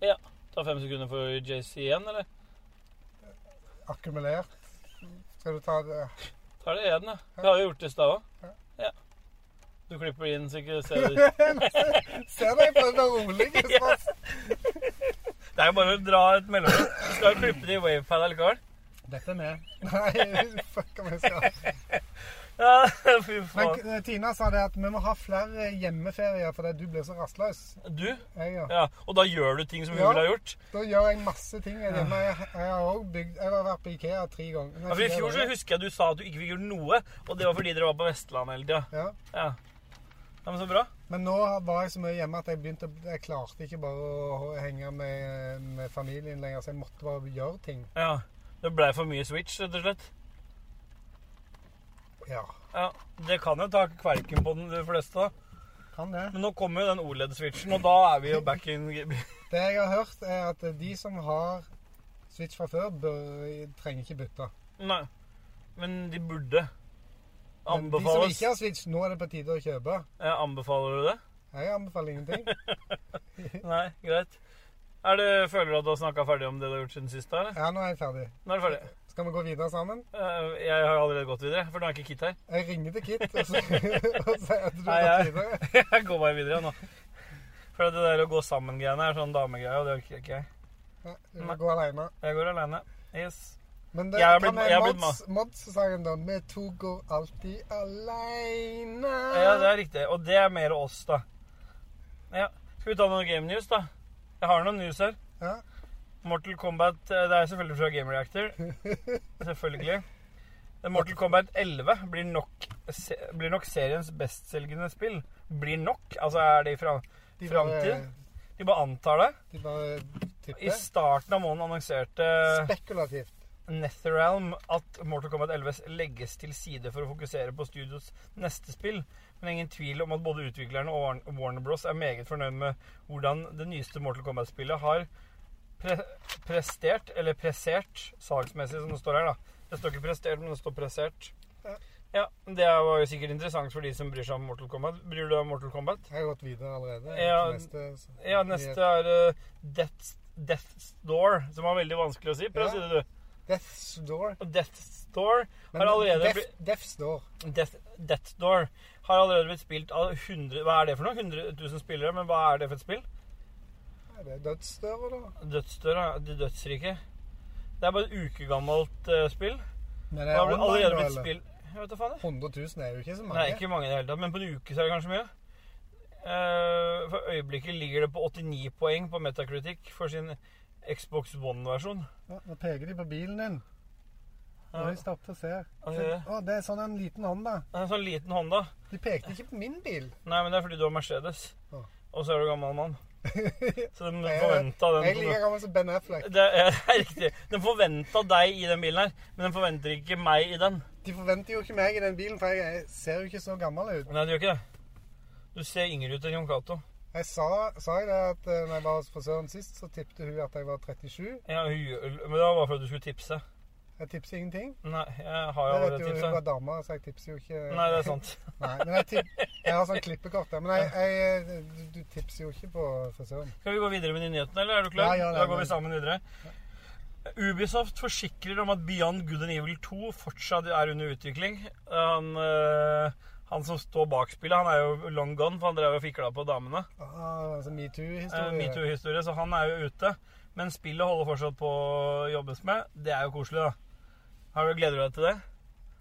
Ja. Ta fem sekunder for JC igjen, eller?
Akkumulert. Skal du ta det?
Ta det igjen, ja. Vi har jo gjort det i stad òg.
Ja.
Ja. Du klipper det inn, så ikke ser det.
Ser deg på den rolige spørs.
Det er jo bare å dra et mellomrom. Du skal jo klippe det i wavepad allikevel.
Dette er med. Nei, fuck om jeg skal.
Ja, fy
Men
faen.
eh, Tina sa det at vi må ha flere hjemmeferier fordi du blir så rastløs.
Du?
Jeg, ja.
Ja, og da gjør du ting som hun
Ja.
ville ha gjort.
Da gjør jeg masse ting hjemme. Jeg, jeg har også bygd Jeg har vært på Ikea tre ganger. Nei,
Ja, for I
fire
fjor så
ganger.
husker jeg du sa at du ikke fikk gjort noe, og det var fordi dere var på Vestlandet hele tida.
ja.
Ja. ja, men så bra.
Men nå var jeg så mye hjemme at jeg begynte Jeg klarte ikke bare å henge med, med familien lenger, så jeg måtte bare gjøre ting.
Ja. Det blei for mye switch, rett og slett.
Ja.
Ja, Det kan jo ta kverken på den de fleste, da.
Kan det.
Men nå kommer jo den OLED-switchen, og da er vi jo back in
Det jeg har hørt, er at de som har Switch fra før, bør, trenger ikke bytte.
Nei. Men de burde.
Men de som
Anbefales.
ikke har Switch, nå er det på tide å kjøpe.
Ja, anbefaler du det?
Jeg anbefaler ingenting.
Nei, greit. Er det, føler du at du har snakka ferdig om det du har gjort siden sist? da, eller?
Ja, nå er jeg ferdig.
Nå er du ferdig.
Skal vi gå videre sammen?
Eh, Jeg har allerede gått videre, for nå er ikke Kit her.
Jeg ringer til Kit og så- og sier at du
Nei,
har
jeg-
gått videre.
Jeg går bare videre nå. For det der å gå sammen-greiene er sånn damegreie, og det orker ikke jeg.
Nei, Du må gå alene.
Jeg går alene. Yes.
Men det
Jeg har
hva
blitt-
med
jeg har blitt
Mods- Mods-sangen, da. Vi to går alltid alene.
Ja, det er riktig. Og det er mer oss, da. Ja. Skal vi ta noen game news, da? Jeg har noen news her.
Ja.
Mortal Kombat eh, Det er selvfølgelig fra Game Reactor. Selvfølgelig. Mortal Kombat 11 blir nok, se, blir nok seriens bestselgende spill. Blir nok? Altså, er det i fra,
De
framtid?
bare,
De bare antar det.
de bare tipper.
I starten av måneden annonserte
Spekulativt.
Netherrealm at Mortal Kombat 11 legges til side for å fokusere på studios neste spill, men ingen tvil om at både utviklerne og Warn- Warner Bros. er meget fornøyd med hvordan det nyeste Mortal Kombat-spillet har pre prestert, eller pressert, salgsmessig, som det står her, da. Det står ikke prestert, men det står pressert.
Ja.
Ja, det var jo sikkert interessant for de som bryr seg om Mortal Kombat. Bryr du deg om Mortal Kombat?
Jeg har gått videre allerede.
Ja.
Til neste, så-
Ja, neste er eh, Death, Death's Door, som var veldig vanskelig å si. Prøv å
Ja.
si det, du.
Death's Door.
Og Death's Door
Men
har allerede
Death,
blitt
Death's Door.
Death, Death Door har allerede blitt spilt av 100 Hva er det for noe? 100 000 spillere, men hva er det for et spill?
Er det dødsdøra, da?
Dødsdør, ja. Det dødsrike. Det er bare et ukegammelt eh, spill.
Men det
Det
er
har blitt-
online,
allerede
da,
blitt
eller?
spill Jeg vet da faen, jeg.
100 000 er jo ikke så mange.
Det er ikke mange i det hele tatt, men på en uke så er det kanskje mye. Eh, for øyeblikket ligger det på 89 poeng på Metacritic for sin Xbox One-versjon.
Ja, nå peker de på bilen din. Nå
Ja.
har de stoppet og ser.
Ja,
Se-
ja, ja.
Å, det er sånn en liten hånd, da.
En sånn liten Honda.
De pekte ikke på min bil.
Nei, men det er fordi du har Mercedes.
Ja.
Og så er du gammel mann. Så de
Jeg-
forventa
Jeg er
den
like gammel som Ben Affleck.
det er, det er riktig. De forventa deg i den bilen her, men de forventer ikke meg i den.
De forventer jo ikke meg i den bilen, for jeg ser jo ikke så gammel ut.
Nei, du gjør ikke det. Du ser yngre ut enn Jon Cato.
Jeg sa, sa jeg det at eh, når jeg var hos frisøren sist, så tippte hun at jeg var 37.
Ja, hun gjør- men det var bare for at du skulle tipse.
Jeg tipser ingenting.
Nei, jeg har jo
Jeg vet
allerede
jo hun var
tipsa.
dame, så jeg tipser jo ikke.
Nei, det er sant.
Nei, men jeg, tipp, jeg har sånn klippekort der. Men jeg, jeg, du, du tipser jo ikke på frisøren.
Skal vi gå videre med de nyhetene, eller er du
Ja,
klar?
ja, ja,
da går
ja.
vi sammen videre. Ubisoft forsikrer om at Beyond Good and Evil 2 fortsatt er under utvikling. Han, eh, han som står bak spillet, han er jo long gone, for han drev og fikla på damene.
Ah, altså
Eh,
metoo-historie.
Metoo-historie, så han er jo ute. Men spillet holder fortsatt på å jobbes med. Det er jo koselig, da. Har du Gleder du deg til det?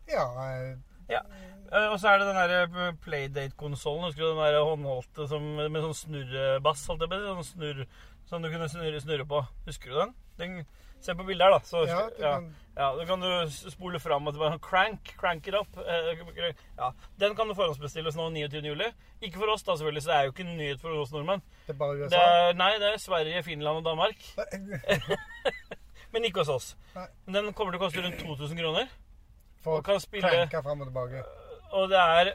ja, jeg-
Eh, Og så er det den der Playdate-konsollen. Husker du den der håndholdte som, med sånn snurrebass? Holdt jeg på, å si, sånn snurr, som du kunne snurre, snurre på. Husker du den? den? Se på bildet her, da. Så,
ja,
husker-
du
ja,
kan-
ja, Da kan du s- spole fram og tilbake. sånn Crank, crank it up. eh, crank- Ja, den kan du forhåndsbestilles nå 29. juli. Ikke for oss, da, selvfølgelig, så det er jo ikke en nyhet for oss nordmenn.
det er bare
Det
USA.
er, nei, det er Sverige, Finland og Danmark. Men ikke hos oss.
Nei.
Den kommer til å koste rundt 2000 kroner.
For
Og kan spille-
krenke frem og tilbake.
Og det er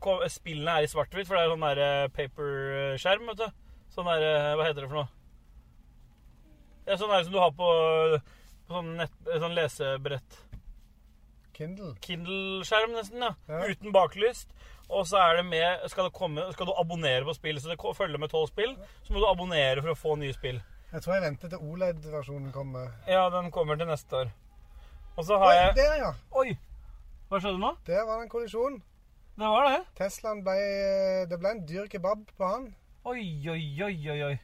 ko- Spillene er i svart-hvitt, for det er sånn der eh, paper-skjerm, vet du. Sånn der eh, Hva heter det for noe? Det er sånn der som du har på, på sånn, nett, eh, sånn lesebrett.
Kindle.
Kindle-skjerm, nesten, ja.
Ja.
Uten baklyst. Og så er det med skal, det komme, skal du abonnere på spill, så det ko- følger med tolv spill. Så må du abonnere for å få nye spill.
Jeg tror jeg venter til OLED-versjonen kommer.
Ja, den kommer til neste år. Og så
Oi,
har jeg
der ja!
Oi! Hva skjedde nå?
Der var det en kollisjon.
Det var det.
Teslaen ble Det ble en dyr kebab på han.
Oi, oi, oi, oi, oi.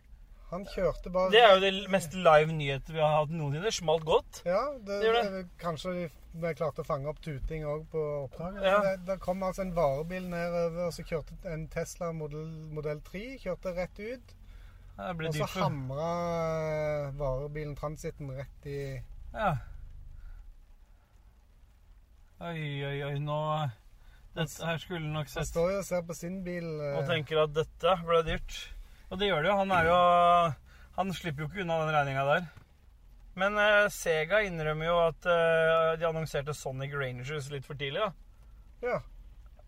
Han kjørte bare
Det er jo det mest live nyheter vi har hatt noensinne. Det Smalt godt.
Ja, det,
Det gjør
det- kanskje de vi klarte å fange opp tuting òg på oppdraget.
Ja.
Det, det kom altså en varebil nedover, og så kjørte en Tesla modell, modell 3 kjørte rett ut.
Det blir
Og så
dyrt for
hamra varebilen Transiten rett i
ja. Oi, oi, oi, nå Dette her skulle nok
Han
sett
står jo og ser på sin bil. eh,
Og tenker at dette ble dyrt. Og det gjør det jo. Han er jo Han slipper jo ikke unna den regninga der. Men eh, Sega innrømmer jo at eh, de annonserte Sonic Rangers litt for tidlig, da.
Ja.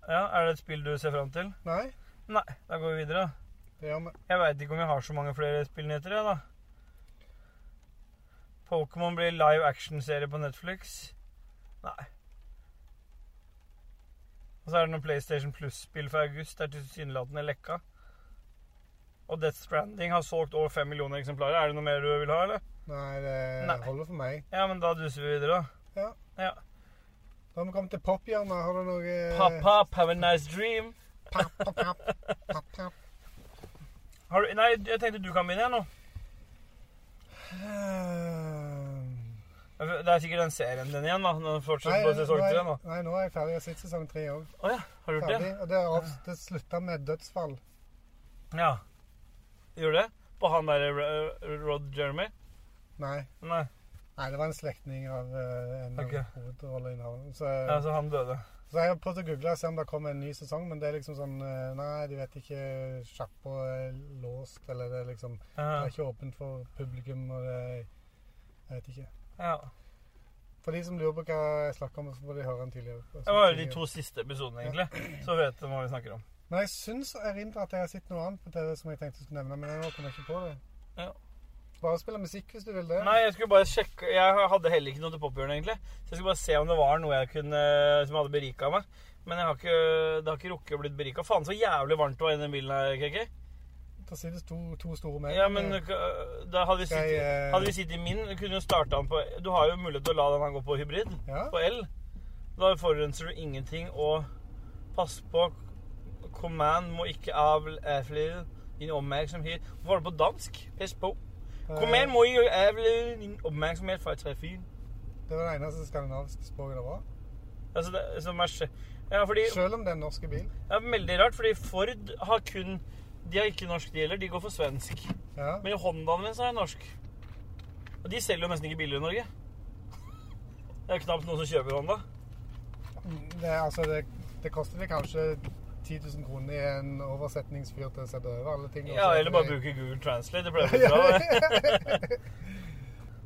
Ja, er det et spill du ser fram til?
Nei,
Nei, da går vi videre. da.
det gjør vi.
Jeg veit ikke om jeg har så mange flere spillnyheter, jeg, da. Pokémon blir live action-serie på Netflix. Nei. Og så er det noen PlayStation Plus-spill fra august. Det er tilsynelatende lekka. Og Death Stranding har solgt over fem millioner eksemplarer. Er det noe mer du vil ha, eller?
Nei, det
Nei.
holder for meg.
Ja, men da duser vi videre, da.
Ja. Da har vi kommet til pophjørnet. Har du noe
Pop, pop, have a nice dream.
Papp, papp, papp, papp, papp.
Har du, nei, jeg tenkte du kan begynne, jeg, nå.
Eh,
Det er sikkert den serien din igjen, da. Den
Nei,
fortsetter
nå
på sesong
er,
tre nå.
nei, nå er jeg ferdig. Jeg har sett sesong tre òg.
Å ja, har du gjort det?
Ferdig. Og det, er av- det slutta med dødsfall.
Ja. Gjør det? På han derre Ro- eh, Rod Jeremy?
Nei.
Nei,
nei, det var en slektning av eh, en
Ok.
okay. hovedrolleinnehaver. Så,
altså han døde.
så jeg har prøvd å google og se om det kommer en ny sesong, men det er liksom sånn eh, Nei, de vet ikke. Sjappa er låst, eller det er liksom Det
Ja.
er ikke åpent for publikum, og det er Jeg vet ikke.
ja.
For de som lurer på hva jeg snakker om, så får de høre en tidligere.
Det var jo de to siste episodene, egentlig. Så vet du hva vi snakker om.
Men jeg syns jeg erindrer at jeg har sett noe annet på TV som jeg tenkte jeg skulle nevne, men nå kommer jeg ikke på det.
Ja.
Bare spille musikk hvis du vil det.
Nei, jeg skulle bare sjekke Jeg hadde heller ikke noe til pophjørnet, egentlig. Så jeg skulle bare se om det var noe jeg kunne som hadde berika meg. Men jeg har ikke, det har ikke rukket å bli berika. Faen, så jævlig varmt det var i den bilen her, KK.
Det til sides to, to store mer.
Ja, men
Eh,
øh, da hadde vi
Skal jeg,
sittet,
eh,
hadde vi sittet i min, kunne jo starta den på Du har jo mulighet til å la den her gå på hybrid,
Eh, Ja.
på el. Da forurenser du ingenting, og pass på Command må ikke avl avle din oppmerksomhet Hvorfor var det på dansk? Pass på.
Eh.
Command må ikke avle din oppmerksomhet fra trafikken.
Eh, Det var det eneste skandinaviske språket det var.
Altså, det som er skje- Ja, fordi
Selv om det er en norsk bil.
Det er veldig rart, fordi Ford har kun De har ikke norsk, de heller. De går for svensk.
Ja.
Men Hondaen min så er norsk. Og de selger jo nesten ikke biler i Norge. Det er jo knapt noen som kjøper Honda.
Det, er altså, det, det koster vel kanskje 10 000 kroner i en oversetningsfyr til å sette over alle ting. og
Ja,
så-
Eller bare bruke Google Translate. Det ble jo bra. det.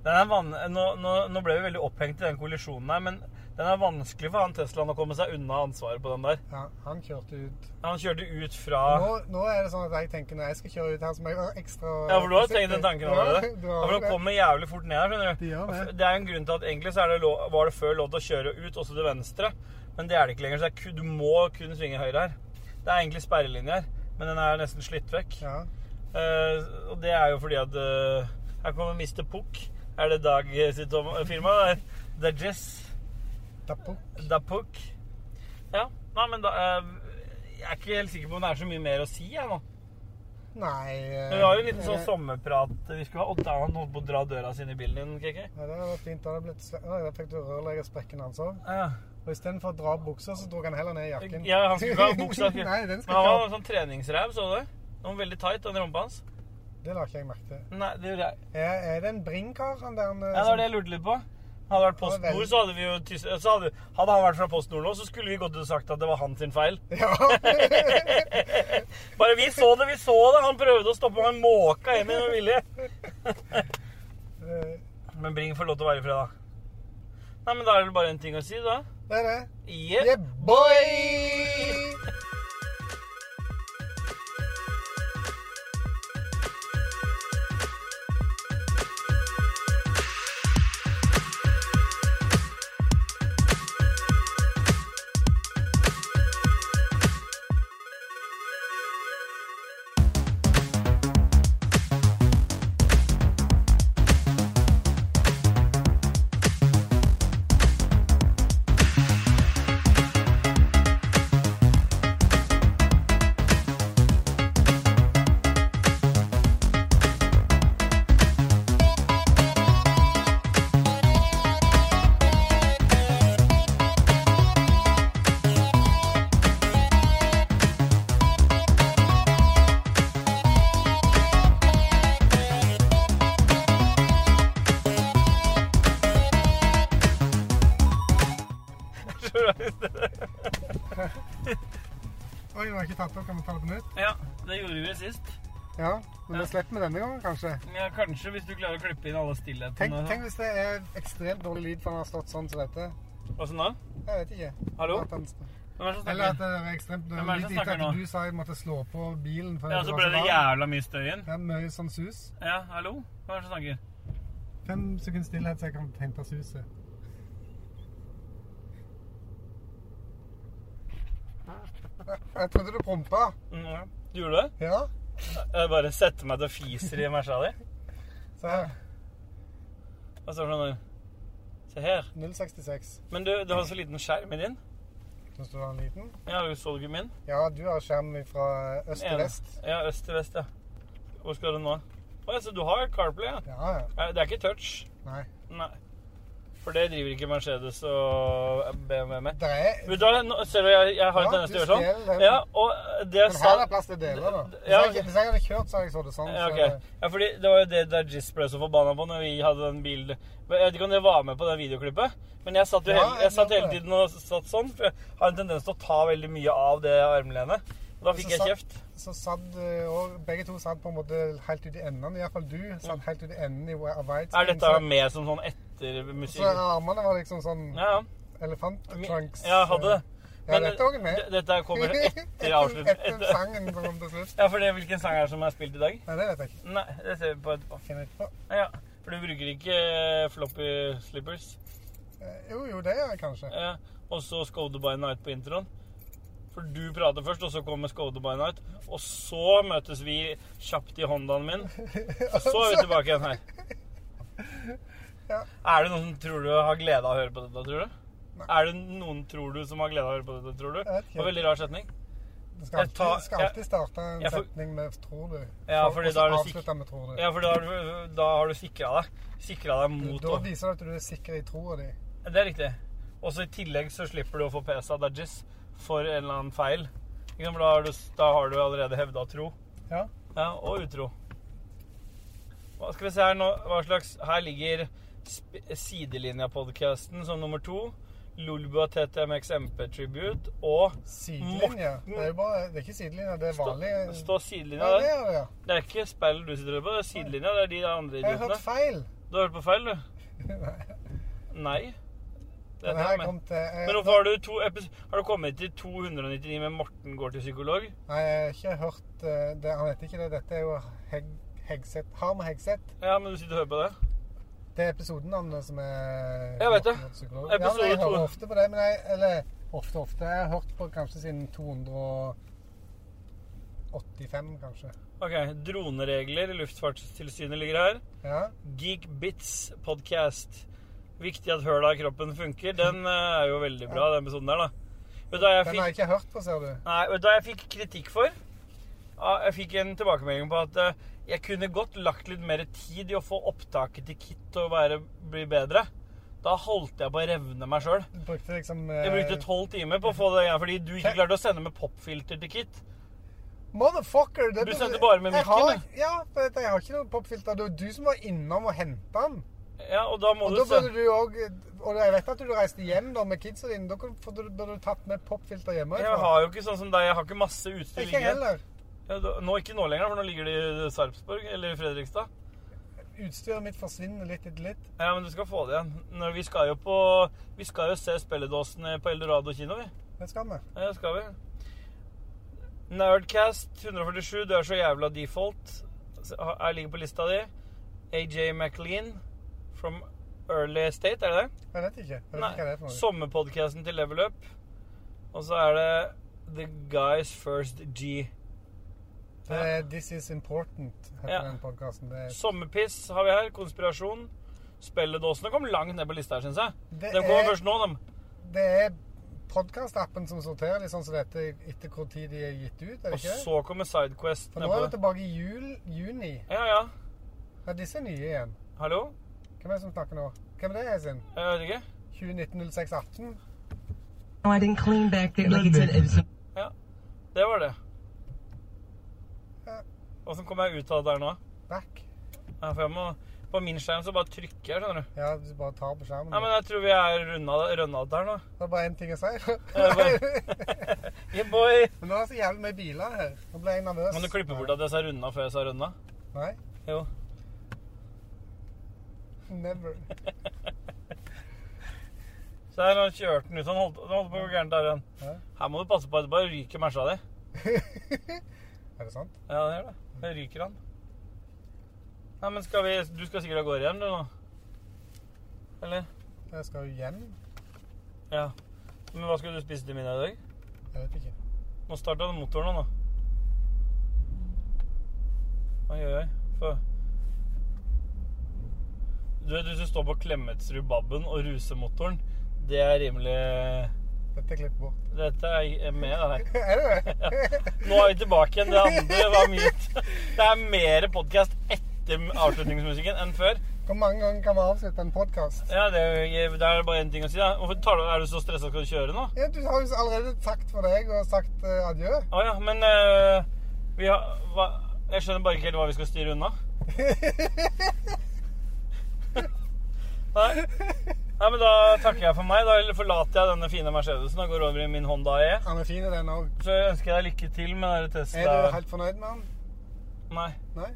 Den er van nå, nå, nå ble vi veldig opphengt i den kollisjonen her, men den er vanskelig for han Teslaen å komme seg unna ansvaret på den der.
Ja, han kjørte ut.
Han kjørte ut fra
Nå, nå er det sånn at jeg tenker når jeg skal kjøre ut her, så må jeg være ekstra
Ja, for du har tenkt den tanken allerede.
Ja, du
Ja,
har
for de
det.
kommer jævlig fort ned her, skjønner du.
De gjør det.
Det er jo en grunn til at egentlig så er det lov, var det før lov til å kjøre ut, også til venstre. Men det er det ikke lenger, så det er, ku- du må kun svinge høyre her. Det er egentlig sperrelinje her, men den er nesten slitt vekk.
Ja.
Eh, og det er jo fordi at eh, Her kommer Mr. Pukk. Er det Dag eh, sitt om- eh, firma? Det er- Det er Jess.
Dapo.
Det er Pukk. Ja. Nei, men da eh, Jeg er ikke helt sikker på om det er så mye mer å si, jeg nå.
Nei eh,
Men Vi har jo en liten sånn
eh,
sommerprat vi skulle ha. Og da han holdt på å dra døra sin i bilen din, KK.
Ja, det var fint. Da hadde blitt sve- Oi, da fikk du rørleggersprekken hans òg.
Ja.
altså. Og istedenfor å dra opp buksa, så dro han heller ned jakken.
Ja, han skulle ikke ha buksa.
Nei, den
Men han
skal
var
ikke ha.
en sånn treningsræv, så du det? Den var veldig tight, den rumpa hans.
Det la ikke jeg merke til.
Nei, det gjorde jeg.
Er, er det en Bring-kar, han der? han, eh,
Ja, det var det jeg lurte litt på. Hadde det vært
Ja, det var
PostNord, så hadde vi jo tys- så hadde, hadde han vært fra PostNord nå, så skulle vi gått ut og sagt at det var hans sin feil.
Ja.
Bare vi så det, vi så det! Han prøvde å stoppe meg, måka hjem igjen med vilje.
Eh,
Men Bring får lov til å være i fred, da. Nei, men da er det bare en ting å si, da.
det er det.
Yeah.
Yeah, boy! Oi, vi har ikke tatt opp. Kan vi ta det på nytt?
Ja, det gjorde vi sist.
Ja, men da slipper vi denne gangen, kanskje.
Men ja, kanskje hvis du klarer å klippe inn alle
Tenk,
stillhetene.
tenk hvis det er ekstremt dårlig lyd for han har stått sånn som dette.
Åssen da?
Jeg vet ikke.
Hallo?
At han-
Hvem er det som
Eller at
snakker?
det er ekstremt
Hvem er
dårlig
det som
lyd etter
snakker nå?
at du sa jeg måtte slå på bilen. For
Ja, så ble det
varmt.
jævla mye støy igjen.
Det er mye sånn sus.
Ja, hallo? Hvem er det som snakker?
Fem sekunder stillhet, så jeg kan hente suset. Jeg trodde du prompa.
Mm, du gjorde det?
Ja,
Jeg bare setter meg til og fiser i mersa di.
se her.
Hva står det nå? Se her.
066.
Men du, du har så liten skjerm i din.
Syns du det var en liten?
Ja, du så du ikke min?
Ja, du har skjerm fra øst til
En-
vest.
Ja, øst til vest, ja. Hvor skal du nå? Å, ja, så du har CarPlay, ja.
Ja, ja.
Nei, Det er ikke touch.
Nei.
Nei. For det driver ikke Mercedes og BMW med.
Det er
Vet du hva, nå- ser du, jeg, jeg har
Ja,
en tendens til å
du
gjøre
stjeler
sånn.
den.
Ja, og det jeg
Men her
sa...
er plass til deler, da. Hvis
Ja,
jeg, hvis jeg hadde kjørt, så hadde jeg så det sånn.
Ja,
så-
ok. ja, fordi det var jo det der Jizz ble så forbanna på når vi hadde den bilen Jeg vet ikke om det var med på det videoklippet, men jeg satt jo
Ja,
hele, jeg
jeg
satt
gjorde
hele
det.
tiden og satt sånn. For jeg har en tendens til å ta veldig mye av det armlenet. Og da
Så
fikk jeg
satt-
kjeft.
Så satt eh, og begge to satt på en måte helt ut i enden. Iallfall du satt helt ut i enden i wi- av white
Mm. Er dette
så,
med som sånn
så
ettermusikk?
armene var liksom sånn
Ja, ja. Mi-
elefanttrunks. eh,
Ja, jeg hadde det.
Ja, dette er også med.
d- Dette kommer etter avslutningen.
eh? Etter sangen som kom til slutt.
Ja, for det, hvilken sang er det som er spilt i dag?
Nei, det vet jeg ikke.
Nei, det ser vi på etterpå.
Finner jeg ikke på.
Ja, For du bruker ikke eh, floppy slippers?
Eh, Jo, jo, det gjør jeg kanskje.
Ja, og så Skoda by Night på introen. For For du prater først, og så kommer Skåde by night. Og så møtes vi kjapt i Hondaen min. Og så er vi tilbake igjen her.
Ja.
Er det noen som tror du har glede av å høre på dette, tror du?
Nei.
Er det noen tror du som har glede av å høre på dette, tror du?
Jeg vet ikke.
Det var veldig rar setning.
Du skal
Jeg tar-
alltid, skal alltid
jeg-
starte en
jeg får-
setning med 'tror du',
Ja,
og-
fordi
og
da er
så
det
avslutte med 'tror du'.
Ja, for da har du, da har du sikra deg. Sikra deg mot
da
å
viser du at du er sikker i troa di.
Det er riktig. Og så i tillegg så slipper du å få PS av Dudgies for en eller annen feil. Ikke sant, for Da har du, da har du allerede hevda tro.
Ja.
Ja, og utro. Hva skal vi se her nå? Hva slags Her ligger sp- Sidelinja-podkasten som nummer to. Lolbua TTMX MP Tribute og
Sidelinje.
Morten-
Det er jo bare, det er ikke sidelinje, det er
Stå,
vanlig
stå
Ja,
sidelinja
det
der.
er det, ja.
Det er ikke speil du sitter på, det er sidelinja. Det er de andre
Jeg har hørt
idiotene.
feil.
Du har hørt på feil, du? Nei. Det er
Den
det
her
jeg mener.
kom til eh, jeg,
Men hvorfor har du, to epis- har du kommet til 299 med Morten går til psykolog?
Nei, jeg har ikke hørt eh, det. Han heter ikke det. Dette er jo Heg, Hegseth. Harm Hegseth.
Ja, men du sitter og hører på det.
Det er episodenavnet som er
Jeg vet det.
Psykolog. Ja, men
Episode
jeg
to.
hører ofte på det. Men jeg, eller ofte, ofte. Jeg har hørt på kanskje siden 285, kanskje.
Ok, Droneregler i Luftfartstilsynet ligger her.
Ja.
Geekbits podcast. Viktig at høla i kroppen funker. Den eh, er jo veldig bra, den episoden der, da. Vet du hva jeg
Den har
fikk,
jeg ikke hørt på, ser du.
nei, vet du hva jeg fikk kritikk for? Ja, Jeg fikk en tilbakemelding på at eh, jeg kunne godt lagt litt mer tid i å få opptaket til Kit og være, bli bedre. Da holdt jeg på å revne meg sjøl.
Du brukte liksom
Jeg brukte
eh,
tolv timer på å få det igjen, fordi du ikke klarte å sende med popfilter til Kit.
Motherfucker! Det,
Du sendte bare med
jeg har-
mikken,
Ja, for dette- jeg har ikke noe popfilter. Det var du som var innom og henta den.
Ja, og da må
Og
du
da burde
se.
du òg Og jeg vet at du reiste hjem da med kidsa dine. Da kunne- for da burde du tatt med popfilter hjemme.
Jeg har jo ikke sånn som deg, jeg har ikke masse utstyr
Ikke jeg
liggende.
heller.
Ja, da- Nå, ikke nå lenger, for nå ligger det i Sarpsborg eller i Fredrikstad.
Utstyret mitt forsvinner litt etter litt.
Ja, men du skal få det igjen. Når vi skal jo på Vi skal jo se spilledåsene på Eldorado kino, vi.
Det skal vi.
Ja, det skal vi. Nerdcast 147, du er så jævla default. Jeg ligger på lista di. AJ McLean from Early State, er det det?
Jeg vet ikke. Jeg vet ikke hva det er for
Nei.
noe.
Sommerpodkasten til Level Up. Og så er det The Guys First G.
Det er This Is Important, heter
Ja.
den podkasten. Det, er-
Sommerpiss har vi her. Konspirasjon. Spelledåsene kom langt ned på lista her, syns jeg.
Det
de kommer
er-
først nå, de.
det er podkastappen som sorterer litt sånn som dette etter hvor tid de er gitt ut, er det
Og
ikke? det?
så kommer Sidequest
For nå
nedpå
er vi
der.
tilbake i jul, juni.
Ja, ja.
Ja, disse er nye igjen.
Hallo?
Hvem er det som snakker nå? Hvem er det, Esin?
Jeg vet ikke.
2019-06-18?
No, I didn't clean back there. Like it's an, it's
Ja. Det var det.
Ja.
Åssen kom jeg ut av det der nå?
Back?
Ja, for jeg må, på min skjerm så bare trykker jeg, skjønner du.
Ja, du bare tar på skjermen.
Nei, men jeg tror vi er runda runda ut der nå.
Det er bare én ting å si.
Ja, det Yeah, boy!
Men nå er det så jævlig mye biler her. Nå ble jeg nervøs.
Kan du klippe bort at jeg sa runda før jeg sa runda?
Nei.
Jo.
Never.
Så her han kjørte den ut. Han holdt, han holdt på å gå gærent der igjen.
Ja.
Her må du passe på at det bare ryker mersa di.
Er det sant?
Ja, det gjør det. Det ryker han. Nei, men skal vi Du skal sikkert av gårde igjen, du nå? Eller?
Jeg skal jo hjem.
Ja. Men hva skal du spise til middag i dag?
Jeg vet ikke.
Nå starta den motoren nå, da. Oi, oi, oi. Få. Du vet, hvis du står på Klemetsrud-babben og ruser motoren, det er rimelig
Dette er klippet bort.
Dette er med, det her.
Er det det?
Nå er vi tilbake igjen. Det andre var mute. Det er mer podkast etter avslutningsmusikken enn før.
Hvor mange ganger kan vi avslutte en podkast?
Ja, det er, jo- det er bare én ting å si. Da. Hvorfor tar du, er du så stressa? Skal du kjøre nå?
Ja, du har jo allerede sagt for deg og sagt eh, adjø.
Å ja, men eh, vi har hva, Jeg skjønner bare ikke helt hva vi skal styre unna. Nei. Nei, men da takker jeg for meg. Da forlater jeg denne fine Mercedesen og går over i min Honda E.
Han er fin i den òg.
Så ønsker jeg deg lykke til med denne
Er du
Tesla.
helt fornøyd med han?
Nei.
Nei?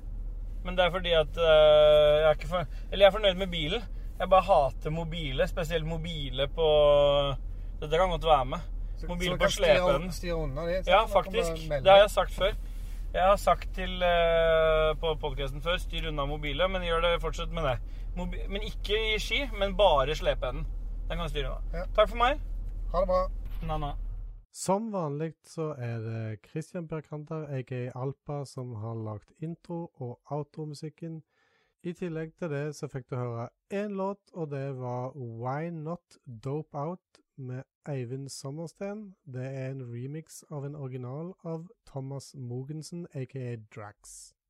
Men det er fordi at øh, jeg er ikke for... Eller jeg er fornøyd med bilen. Jeg bare hater mobile, spesielt mobile på Dette kan godt være med. Mobile på slepen.
Styre unna de. så
Ja,
kan man
faktisk.
melde.
Det har jeg sagt før. Jeg har sagt til øh, på podkasten før styr unna mobile, men gjør det fortsatt med det. Mobi men ikke i ski, men bare slepeenden. Den kan du styre unna.
Ja.
Takk for meg.
Ha det bra.
Na, na.
Som vanlig så er det Christian Berkanter, aka Alpa, som har lagd intro- og outromusikken. I tillegg til det så fikk du høre én låt, og det var Why Not Dope Out med Eivind Sommersten. Det er en remix av en original av Thomas Mogensen, aka Drax.